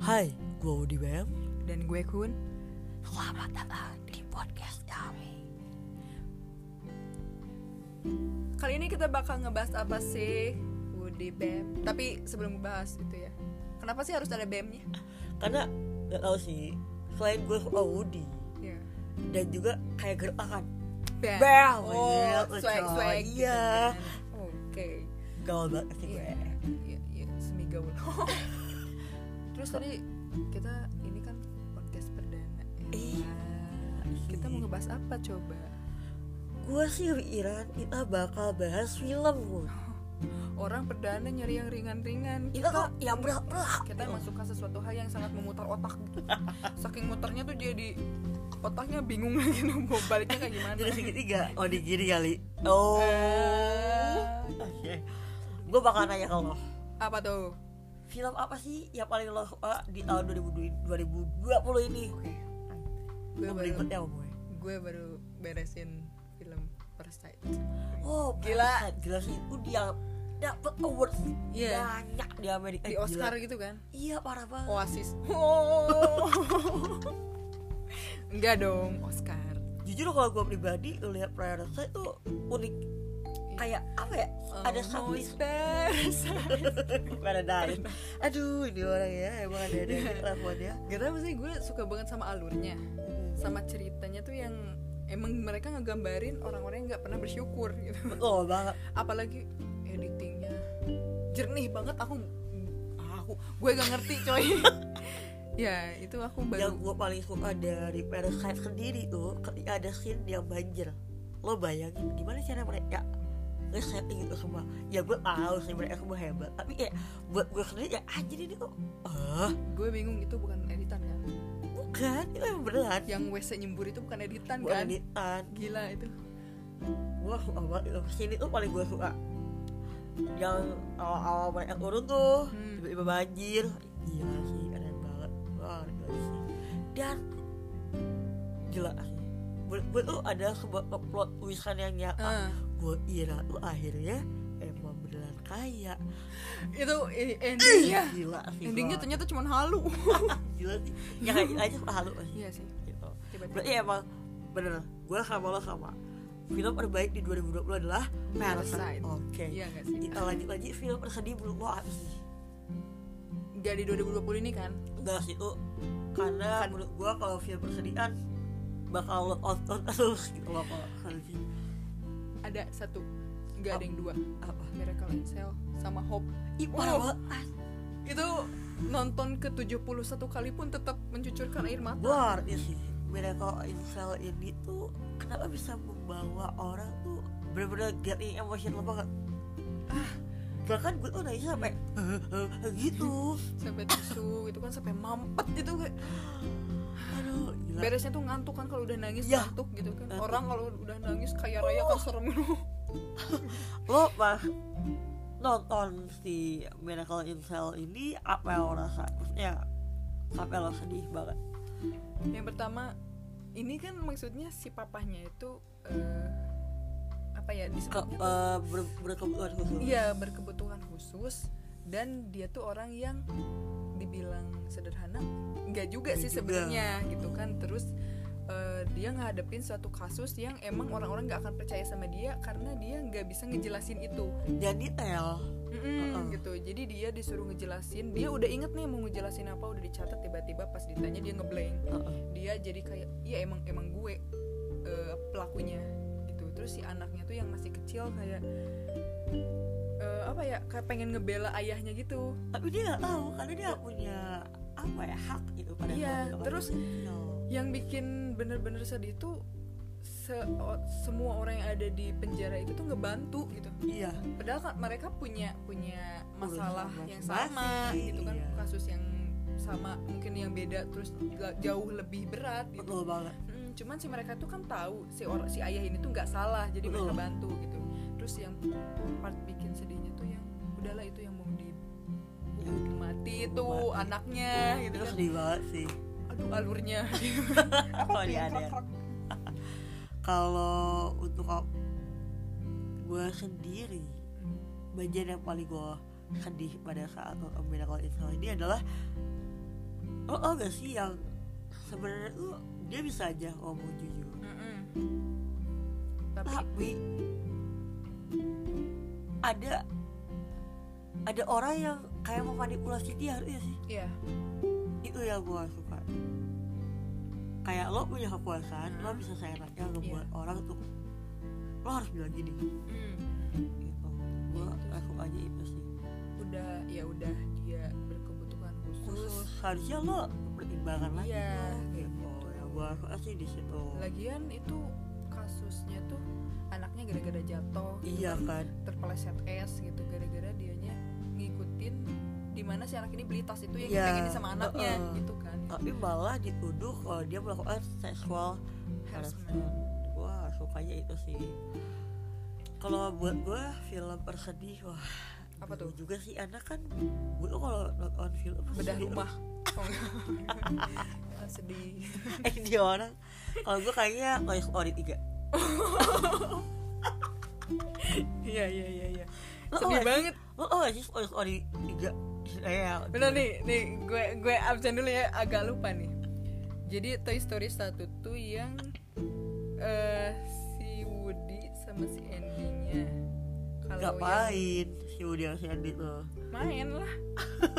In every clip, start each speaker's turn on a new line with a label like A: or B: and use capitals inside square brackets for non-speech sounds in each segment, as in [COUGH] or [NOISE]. A: Gue Woody BM
B: Dan gue Kun.
C: Selamat datang di podcast kami.
B: Kali ini kita bakal ngebahas apa sih? Woody BEM. Tapi sebelum bahas itu ya. Kenapa sih harus ada BEM-nya?
A: Karena gak tau sih Selain gue suka Woody
B: Ya.
A: Dan juga kayak gertakan
B: BEM.
A: Bel. Iya,
B: Oh,
A: betul.
B: swag swag. gitu
A: Iya.
B: kan. Oke.
A: Gaul banget sih gue
B: Iya. Iya, iya, semi gaul. [LAUGHS] Terus tadi kita ini kan podcast perdana. ya.
A: Iya.
B: Kita mau ngebahas apa coba?
A: Gue sih pikiran kita bakal bahas film gue
B: Orang perdana nyari yang ringan-ringan.
A: Kita kok yang berat-berat
B: kita emang suka sesuatu hal yang sangat memutar otak
A: [LAUGHS]
B: gitu. saking muternya tuh jadi otaknya bingung lagi gitu, mau baliknya kayak gimana
A: Jadi segitiga Oh di kiri kali Oh
C: Eh.
A: Oke Gue bakal nanya ke lo
B: Eh, apa tuh
A: Film apa sih yang paling lo suka di tahun 2020 ini?
B: gue
A: Yang
B: baru
A: berikutnya apa gue?
B: gue baru beresin film Parasite
A: Oh,
B: Gila.
A: gila. Gila sih itu dia dapet award
B: Iya.
A: banyak di Amerika.
B: di
A: Gila.
B: Oscar gitu kan
A: Iya, parah banget. [LAUGHS]
B: Oasis oh enggak dong Oscar
A: Jujur kalau gue pribadi lihat Parasite itu unik. Kayak apa ya? ada [LAUGHS]
B: Almost
A: sublis
B: Parasite
A: pada dari. Aduh, ini orang ya emang ada ada ramuannya.
B: gak tau sih gue suka banget sama alurnya sama ceritanya tuh yang emang mereka ngegambarin orang-orang yang nggak pernah bersyukur gitu [LAUGHS]
A: Betul banget.
B: apalagi editingnya jernih banget aku aku gue gak ngerti coy [LAUGHS] ya itu aku
A: Yang
B: baru
A: gue paling suka dari Parasite sendiri tuh ketika ada scene yang banjir. Lo bayangin gimana cara mereka nge-setting itu semua ya gue tahu sih mereka semua hebat tapi ya buat gue sendiri ya anjir ini kok ah
B: gue bingung itu bukan editan kan
A: Bukan, itu emang beneran
B: yang wc nyembur itu bukan editan
A: Gue
B: kan
A: editan
B: gila itu
A: Gue suka banget itu Sini tuh paling gue suka Yang awal-awal banyak turun tuh
B: Hmm.
A: Tiba-tiba banjir Gila sih, keren banget Wah, gila sih Dan Gila sih Gue tuh ada sebuah plot tulisan yang nyata
B: Ah,
A: Gue ira tuh akhirnya Emang beneran kaya
B: itu i- endingnya
A: Gila sih
B: endingnya
A: gua.
B: ternyata cuma halu [LAUGHS]
A: [LAUGHS] Gila sih Ya kayak gila aja suka halu sih
B: iya sih
A: Gitu
B: tiba-tiba
A: Berarti emang bener Gue sama lo sama Film terbaik di 2020 adalah Parasite
B: Parasite.
A: Oke
B: iya gak sih
A: Kita lanjut lagi film tersedih belum lo apa sih?
B: gak di 2020 ini kan
A: Enggak sih itu Karena menurut gue kalau film persedihan Bakal lo tonton terus [LAUGHS] gitu loh kalau sedih
B: ada satu gak ada yang dua
A: Apa?
B: Miracle in Cell sama Hope
A: Ih parah
B: Oh.
A: banget Ah,
B: itu nonton ke 71 kali pun tetap mencucurkan air mata
A: Gue arti sih Miracle in Cell ini tuh Kenapa bisa membawa orang tuh Bener-bener getting emotional banget Bahkan gue tuh nangis sampai "Eh, Gitu
B: sampai tisu gitu kan sampai mampet gitu kayak
A: Aduh gila
B: beresnya tuh ngantuk kan kalau udah nangis
A: Yah.
B: ngantuk gitu kan
A: Ngantuk. Oh.
B: orang kalau udah nangis kayak raya kan serem gitu
A: lo pas nonton si Miracle in Cell ini apa yang lo rasa? Maksudnya sampai lo sedih banget?
B: [LAUGHS] yang pertama ini kan maksudnya si papahnya itu eh, apa ya
A: Ke,
B: disebutnya tuh
A: eh, ber- berkebutuhan khusus?
B: iya berkebutuhan khusus dan dia tuh orang yang dibilang sederhana nggak juga
A: Nggak
B: sih
A: juga.
B: sebenarnya gitu kan terus eh, dia ngadepin suatu kasus yang emang orang-orang nggak akan percaya sama dia karena dia nggak bisa ngejelasin itu
A: Dan detail.
B: Mm-mm,
A: Uh-uh.
B: gitu jadi dia disuruh ngejelasin dia udah inget nih mau ngejelasin apa udah dicatat tiba-tiba pas ditanya dia ngeblank
A: Uh-uh.
B: dia jadi kayak iya emang emang gue eh, pelakunya gitu terus si anaknya tuh yang masih kecil kayak eh, apa ya kayak pengen ngebela ayahnya gitu
A: Tapi dia nggak tahu karena dia nggak punya apa ya hak gitu pada
B: Iya,
A: keluarga
B: terus
A: manusia.
B: yang bikin bener-bener sedih tuh se- o- semua orang yang ada di penjara itu tuh ngebantu gitu
A: Iya.
B: padahal kan mereka punya punya masalah
A: Urusan
B: yang sama
A: masing-masing,
B: gitu kan
A: iya.
B: kasus yang sama mungkin yang beda terus la- jauh lebih berat gitu
A: Betul banget.
B: Mm, cuman si mereka tuh kan tahu si orang si ayah ini tuh nggak salah jadi mereka
A: Betul.
B: bantu gitu terus yang part bikin sedihnya tuh yang udahlah itu yang mau di
A: Ya,
B: mati itu
A: Mati. Iya,
B: anaknya gitu
A: itu
B: kan
A: sedih banget sih.
B: aduh alurnya
A: Kalau dia ada. Kalau untuk gue sendiri bagian yang paling gue sedih pada saat nonton Miracle in Cell ini adalah lo tau gak sih yang sebenarnya tuh dia bisa aja ngomong jujur
B: Mm-mm. tapi
A: tapi ada ada orang yang kayak mau manipulasi dia harusnya sih
B: ya
A: itu yang gue suka kayak lo punya kepuasan lo bisa seenaknya ngebuat orang tuh lo harus bilang gini
B: Mm.
A: gitu gue
B: Itu
A: aku aja itu sih
B: udah ya udah dia berkebutuhan
A: terus
B: khusus
A: harusnya lo pertimbangkan lagi
B: Iya,
A: dong,
B: kayak
A: gitu ya gue suka sih di situ
B: lagian itu kasusnya tuh anaknya gara-gara jatuh
A: iya kan
B: terpeleset es gitu gara-gara dianya ngikutin di mana si anak ini beli tas itu yang
A: Ya,
B: dipengenin sama anaknya
A: uh-uh.
B: gitu kan
A: tapi malah dituduh kalau dia melakukan seksual harassment
B: Harassment.
A: wah sukanya itu sih kalau buat gue film bersedih wah
B: Apa
A: dulu
B: tuh?
A: juga sih anak kan gue tuh kalau nonton film pasti
B: bedah
A: sedih. [LAUGHS]
B: rumah Oh, enggak. Ah, sedih
A: eh dia orang kalau gue kayaknya Toy Story 3
B: iya iya iya iya
A: Lo
B: sedih
A: awet.
B: banget
A: lo tau gak sih Toy Story 3 eh,
B: bener nih nih gue gue absen dulu ya agak lupa nih jadi Toy Story 1 tuh yang eh si Woody sama si Andy-nya kalau yang
A: ngapain si Woody sama si Andy tuh
B: main lah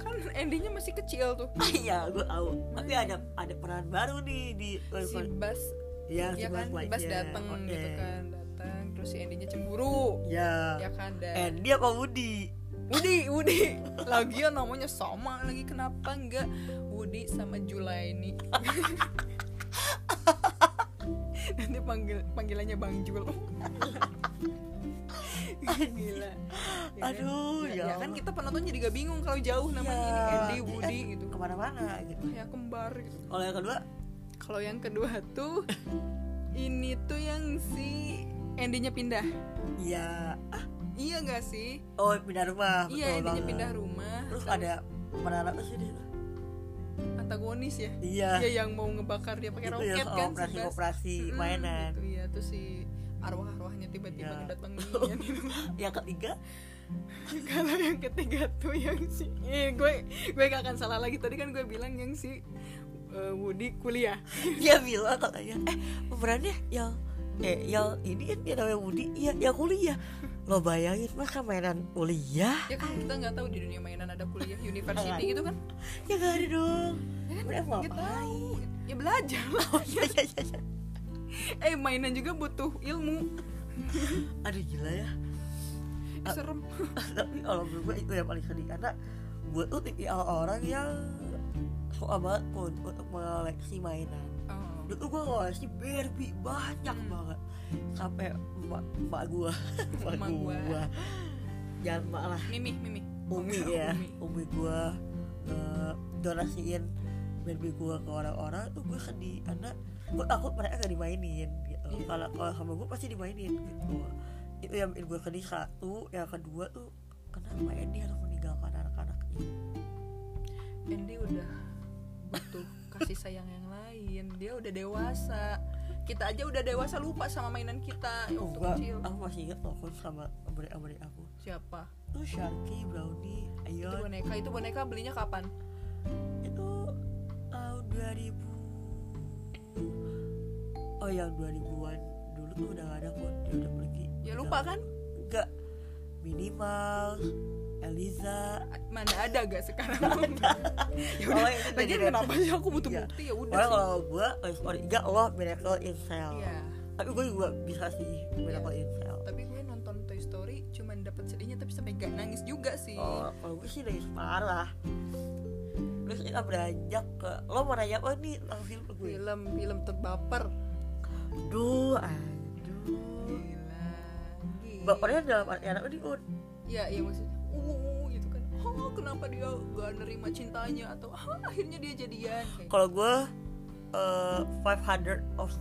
B: kan Andy-nya masih kecil tuh
A: [LAUGHS] iya gue tahu tapi ada ada peran baru nih di Toy
B: si
A: Story
B: Bas
A: ya,
B: ya kan
A: Buzz
B: Bas
A: Lightyear.
B: datang
A: Oke.
B: gitu kan datang terus si Andy-nya cemburu
A: ya
B: ya kan dan
A: Andy apa Woody
B: Woody Woody lagi ya, namanya sama lagi kenapa enggak Woody sama Julaini [LAUGHS] nanti panggil panggilannya Bang Jul gila Ya kan?
A: Aduh,
B: ya,
A: ya
B: ya kan
A: Allah.
B: kita penonton jadi gak bingung kalau jauh namanya
A: Iya,
B: ini Andy
A: jadi
B: Woody
A: kan
B: gitu
A: kemana-mana gitu
B: ya kembar gitu
A: kalau yang kedua
B: kalau yang kedua tuh ini tuh yang si Andy-nya pindah
A: ya
B: iya gak sih
A: oh pindah rumah betul
B: iya Andy-nya
A: banget.
B: pindah rumah
A: terus ada peran apa sih di situ?
B: antagonis ya
A: iya
B: Iya yang mau ngebakar dia pakai
A: itu
B: roket
A: yang
B: kan
A: operasi
B: sebelas.
A: operasi
B: Mm-mm,
A: mainan
B: gitu, Iya tuh si arwah-arwahnya tiba-tiba
A: Ya.
B: datang gitu. [LAUGHS]
A: yang ketiga
B: Kalau yang ketiga tuh yang si eh, gue gue gak akan salah lagi tadi kan gue bilang yang si eh, Woody kuliah.
A: dia bilang katanya eh pemerannya yang eh yang ini kan dia namanya Budi ya yang kuliah lo bayangin masa mainan kuliah
B: Ya kan kita nggak tahu di dunia mainan ada
A: [LAUGHS]
B: kuliah university gitu kan.
A: ya gak ada dong
B: Ya kan,
A: Mereka mau
B: nggak tahu.
A: ngapain
B: Ya belajar lah.
A: Ya, ya, ya, ya.
B: eh mainan juga butuh ilmu.
A: aduh gila ya [LAUGHS]
B: Eh, Serem.
A: tapi kalau menurut gue itu yang paling sedih karena gue tuh tipikal orang yang suka banget pun untuk mengoleksi mainan
B: Oh.
A: dulu tuh gue ngoleksi Barbie banyak
B: Hmm.
A: banget sampai emak emak gue [LAUGHS] emak
B: Emak gua.
A: gue jangan emak lah
B: Mimi, Mimi.
A: umi ya
B: iya.
A: umi gue donasiin Barbie gue ke orang-orang tuh gue sedih karena gue takut mereka gak dimainin gitu
B: Iya.
A: kalau kalau sama gue pasti dimainin gitu itu yang bikin gue sedih satu yang kedua tuh kenapa Andy harus meninggalkan anak-anaknya
B: Andy udah butuh kasih sayang yang lain dia udah dewasa kita aja udah dewasa lupa sama mainan kita yang
A: oh,
B: waktu
A: gue
B: kecil
A: aku masih inget aku sama adik-adik aku
B: siapa
A: tuh Sharky Brownie
B: itu
A: Ayon
B: boneka itu boneka belinya kapan
A: itu tahun 2000 oh yang 2000-an dulu tuh udah gak ada kok dia udah pergi
B: ya lupa kan
A: enggak minimal Eliza
B: mana ada gak sekarang [LAUGHS] ya udah
A: Oh, itu udah
B: lagian
A: jadi-
B: kenapa sih aku butuh
A: Iya.
B: bukti ya udah
A: Pokoknya
B: sih
A: kalau eh, gue Toy Story 3 lo Miracle in Cell
B: Iya.
A: Tapi gue juga bisa sih Miracle in Cell
B: tapi gue nonton Toy Story cuman dapat sedihnya tapi sampai gak nangis juga sih
A: Oh, kalau gue sih nangis parah Terus kita beranjak ke Lo mau nanya apa nih tentang film gue?
B: film film terbaper
A: Aduh, aduh
B: gila Gila.
A: Bapaknya dalam artian apa nih Un?
B: ya ya maksudnya uh gitu kan oh kenapa dia gak nerima cintanya atau ah akhirnya dia jadian kayak gitu.
A: kalau gue eh 500 of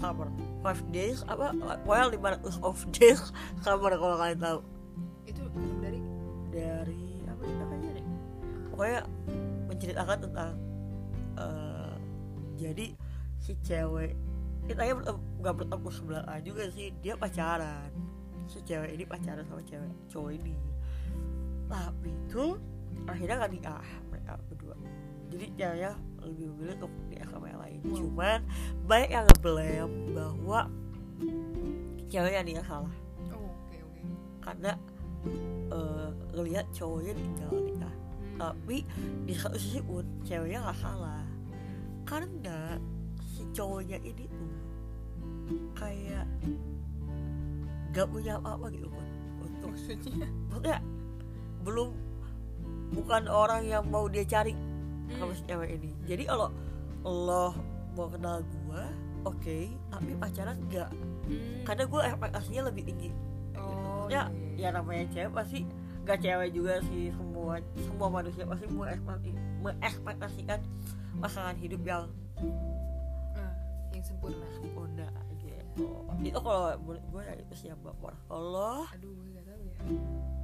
A: summer 5 days apa well 500 of days summer kalau kalian tahu
B: itu dari
A: dari apa sih namanya nih pokoknya menceritakan tentang eh jadi si cewek kita ya nggak bertemu sebelah juga sih dia pacaran si cewek ini pacaran sama cewek cowok ini tapi itu akhirnya gak nikah mereka berdua jadi ceweknya lebih memilih ke di agama yang lain cuman banyak yang ngeblame bahwa cewek yang nikah salah
B: Oh, oke oke.
A: karena eh, ngelihat cowoknya tinggal nikah tapi di satu sisi pun ceweknya nggak salah karena si cowoknya ini tuh kayak gak punya apa-apa gitu Bun, untuk
B: Maksudnya?
A: maksudnya belum bukan orang yang mau dia cari
B: Hmm.
A: sama si cewek ini jadi kalau lo mau kenal gua oke tapi pacaran enggak
B: Hmm.
A: karena gue ekspektasinya lebih tinggi
B: Oh,
A: ya ya
B: iya.
A: namanya cewek pasti gak cewek juga sih semua semua manusia pasti meekspektasi- mengekspektasikan pasangan hidup yang
B: Ah, yang sempurna.
A: sempurna gitu itu kalau menurut gue ya itu sih yang baper Allah
B: Aduh, gue gak tahu ya.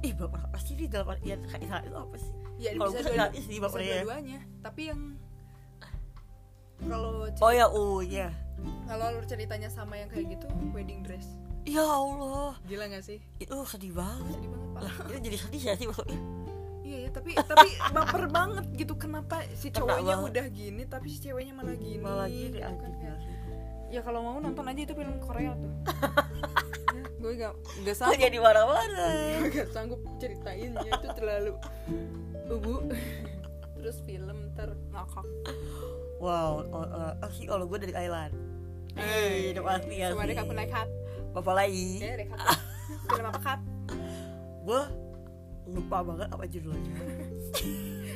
A: ih baper apa sih di dalam artian kayak salah itu apa sih
B: Ya
A: Kalau
B: bisa
A: gue
B: dua-
A: gratis sih ya.
B: bisa
A: bapernya.
B: dua-duanya. Tapi yang kalau
A: oh
B: cerita-
A: ya oh ya
B: kalau lu ceritanya sama yang kayak gitu, wedding dress.
A: ya Allah
B: Gila gak sih?
A: itu sedih banget
B: Sedih banget, Pak.
A: lah itu jadi sedih ya sih maksudnya
B: Iya ya, tapi tapi baper banget gitu kenapa si
A: Kena
B: cowoknya
A: banget.
B: udah gini tapi si ceweknya malah gini.
A: malah gini
B: gitu kan,
A: anjing
B: kayak,
A: gak sih?
B: Ya kalau mau nonton aja itu film Korea
A: [LAUGHS]
B: tuh. Ya, gue gak gak
A: Kok [LAUGHS]
B: sanggup
A: jadi marah-marah
B: gak sanggup ceritainnya itu terlalu ubu. [LAUGHS] Terus film ter ngakak.
A: wow oh, oh, oh, sih kalau gue dari Thailand eh udah pasti ya
B: Sama
A: sih.
B: dek aku naik hat.
A: Bapak lagi
B: Eh, dek aku. Film apa kat?
A: gue lupa banget apa judulnya [LAUGHS]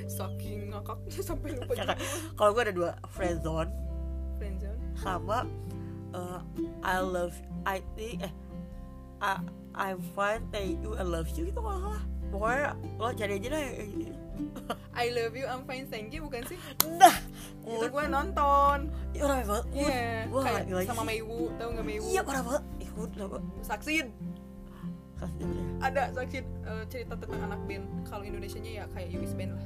B: Saking ngakaknya [LAUGHS] sampai lupa
A: Kakak,
B: judul.
A: kalau gue ada dua friendzone
B: Friendzone.
A: sama eh, I love I think eh I, I'm fine thank you I love you gitu kalau salah pokoknya lo cari aja deh
B: I love you, I'm fine, thank you, bukan sih?
A: nah Kun
B: Itu gue nonton
A: itu rame banget Kun.
B: Iya,
A: Wah,
B: kayak
A: gila
B: sama
A: sih.
B: Meiwu, tau gak Meiwu?
A: iya parah banget ih Kun kenapa
B: Saksin,
A: kasih ya
B: ada Saksin eh, cerita tentang anak band Kalau Indonesianya ya kayak Yubis Band lah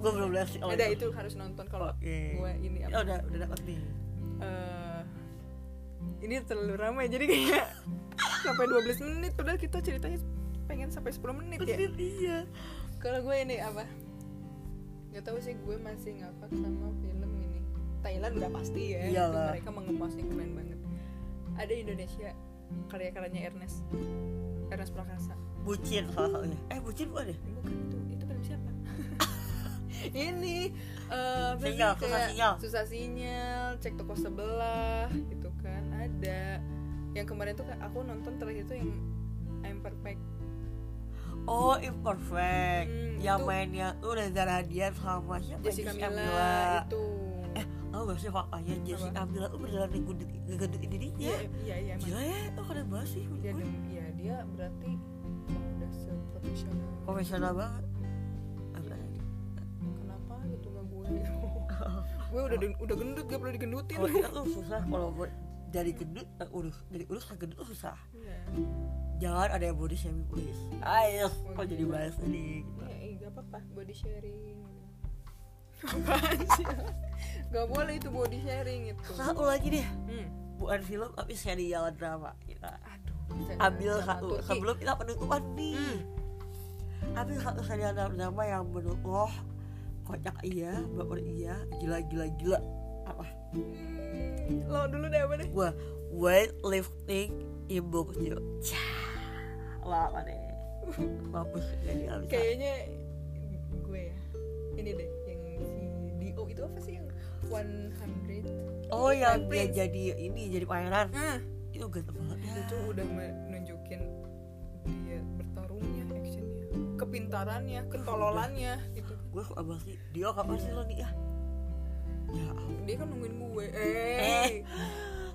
A: gue belum lihat sih kalau
B: Ada itu iya. harus nonton kalau
A: Oke.
B: gue ini
A: iya. Oh, Ya,
B: apa
A: udah udah dapat nih
B: eh, Ini terlalu ramai, jadi kayak [LAUGHS] sampai 12 menit Padahal kita ceritanya pengen sampai 10 menit ya
A: [LAUGHS] iya
B: Kalau gue ini apa? Gak tahu sih gue masih ngakak sama film ini. Thailand udah pasti ya. itu
A: Iyalah.
B: Mereka mengemasnya keren banget. Ada Indonesia karya-karyanya Ernest. Ernest Prakasa.
A: bucin salah satunya eh bucin bukan ya
B: Eh, Bukan itu. Itu film siapa? [LAUGHS] ini eh, apa sih,
A: Sinyal, Susah
B: kayak
A: Sinyal.
B: susah sinyal, cek toko sebelah gitu kan. Ada yang kemarin tuh aku nonton terakhir itu yang I'm Perfect.
A: Oh, imperfect.
B: Hmm,
A: yang
B: itu-
A: mainnya tuh Reza Radian sama siapa?
B: Jessica
A: Jessica
B: Mila
A: Mila.
B: itu.
A: Oh, gak sih faktanya Jessica Mila tuh beneran ngegundit ngegendutin dirinya.
B: Iya, iya, iya. emang.
A: Gila ya, itu keren banget sih. menurut
B: dia
A: gue.
B: dem- ya dia berarti emang udah seprofesional
A: Profesional banget. Apa ya?
B: Iya.
A: lagi?
B: kenapa gitu nggak
A: [LAUGHS]
B: gue [LAUGHS] gue
A: Oh.
B: udah den- udah gendut gak perlu digendutin
A: Kalau kita tuh susah kalau buat dari gendut ke urus, dari urus ke gendut tuh susah.
B: Iya.
A: Jangan ada yang body shaming please. Ayo, kok jadi
B: gila.
A: bahas ini.
B: Iya, eh, gak apa-apa body
A: [LAUGHS]
B: sharing Apaan sih? Gak boleh itu body sharing itu
A: Satu lagi deh,
B: hmm.
A: bukan film tapi serial drama kita.
B: Aduh bisa
A: ambil
B: sama
A: satu
B: Turki.
A: sebelum kita penutupan nih
B: Hmm.
A: ambil satu serial drama yang menurut lo kocak iya baper iya gila gila gila apa
B: Hmm, Lo dulu deh apa deh
A: gua weightlifting ibu kecil lah apa deh [LAUGHS] mampus gak dia bisa
B: Kayaknya gue ya Ini deh yang si Dio itu apa sih yang 100
A: oh yang dia
B: Prince.
A: jadi ini jadi pangeran
B: Ah,
A: itu ganteng banget
B: itu tuh udah menunjukin dia bertarungnya actionnya kepintarannya kentololannya gitu
A: gue suka banget sih dia kapan sih lo nikah ya ampun
B: dia kan nungguin gue eh
A: Eh.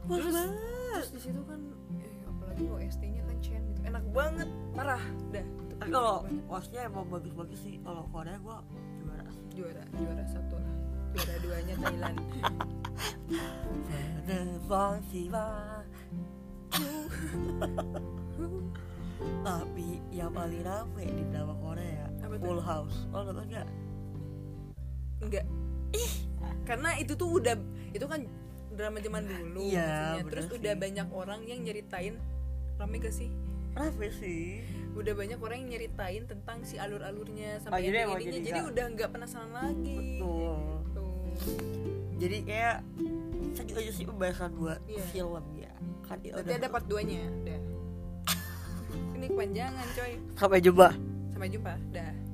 A: Bagus
B: Terus-
A: banget
B: terus di situ kan eh, apalagi OST nya kan Chen gitu enak banget parah dah Itu
A: tapi kalau wasnya emang bagus-bagus sih kalau Korea gua juara
B: juara juara satu lah juara duanya Thailand
A: Tapi yang paling rame di drama Korea
B: Apa tuh?
A: Full House Lo nonton gak?
B: enggak ih karena itu tuh udah itu kan drama zaman dulu
A: Iya,
B: maksudnya. terus
A: bener
B: udah
A: sih.
B: banyak orang yang nyeritain rame gak sih
A: Rame sih
B: udah banyak orang yang nyeritain tentang si alur-alurnya
A: Oh, jadi
B: sampai ending
A: emang
B: endingnya
A: jadi
B: jadi
A: nggak-
B: udah nggak penasaran lagi
A: Betul
B: gitu.
A: jadi kayak sejuk aja sih pembahasan buat
B: Iya.
A: film ya kan ya
B: Nanti
A: udah
B: ada part 2 nya Dah Ini kepanjangan coy
A: sampai jumpa
B: Sampai jumpa Dah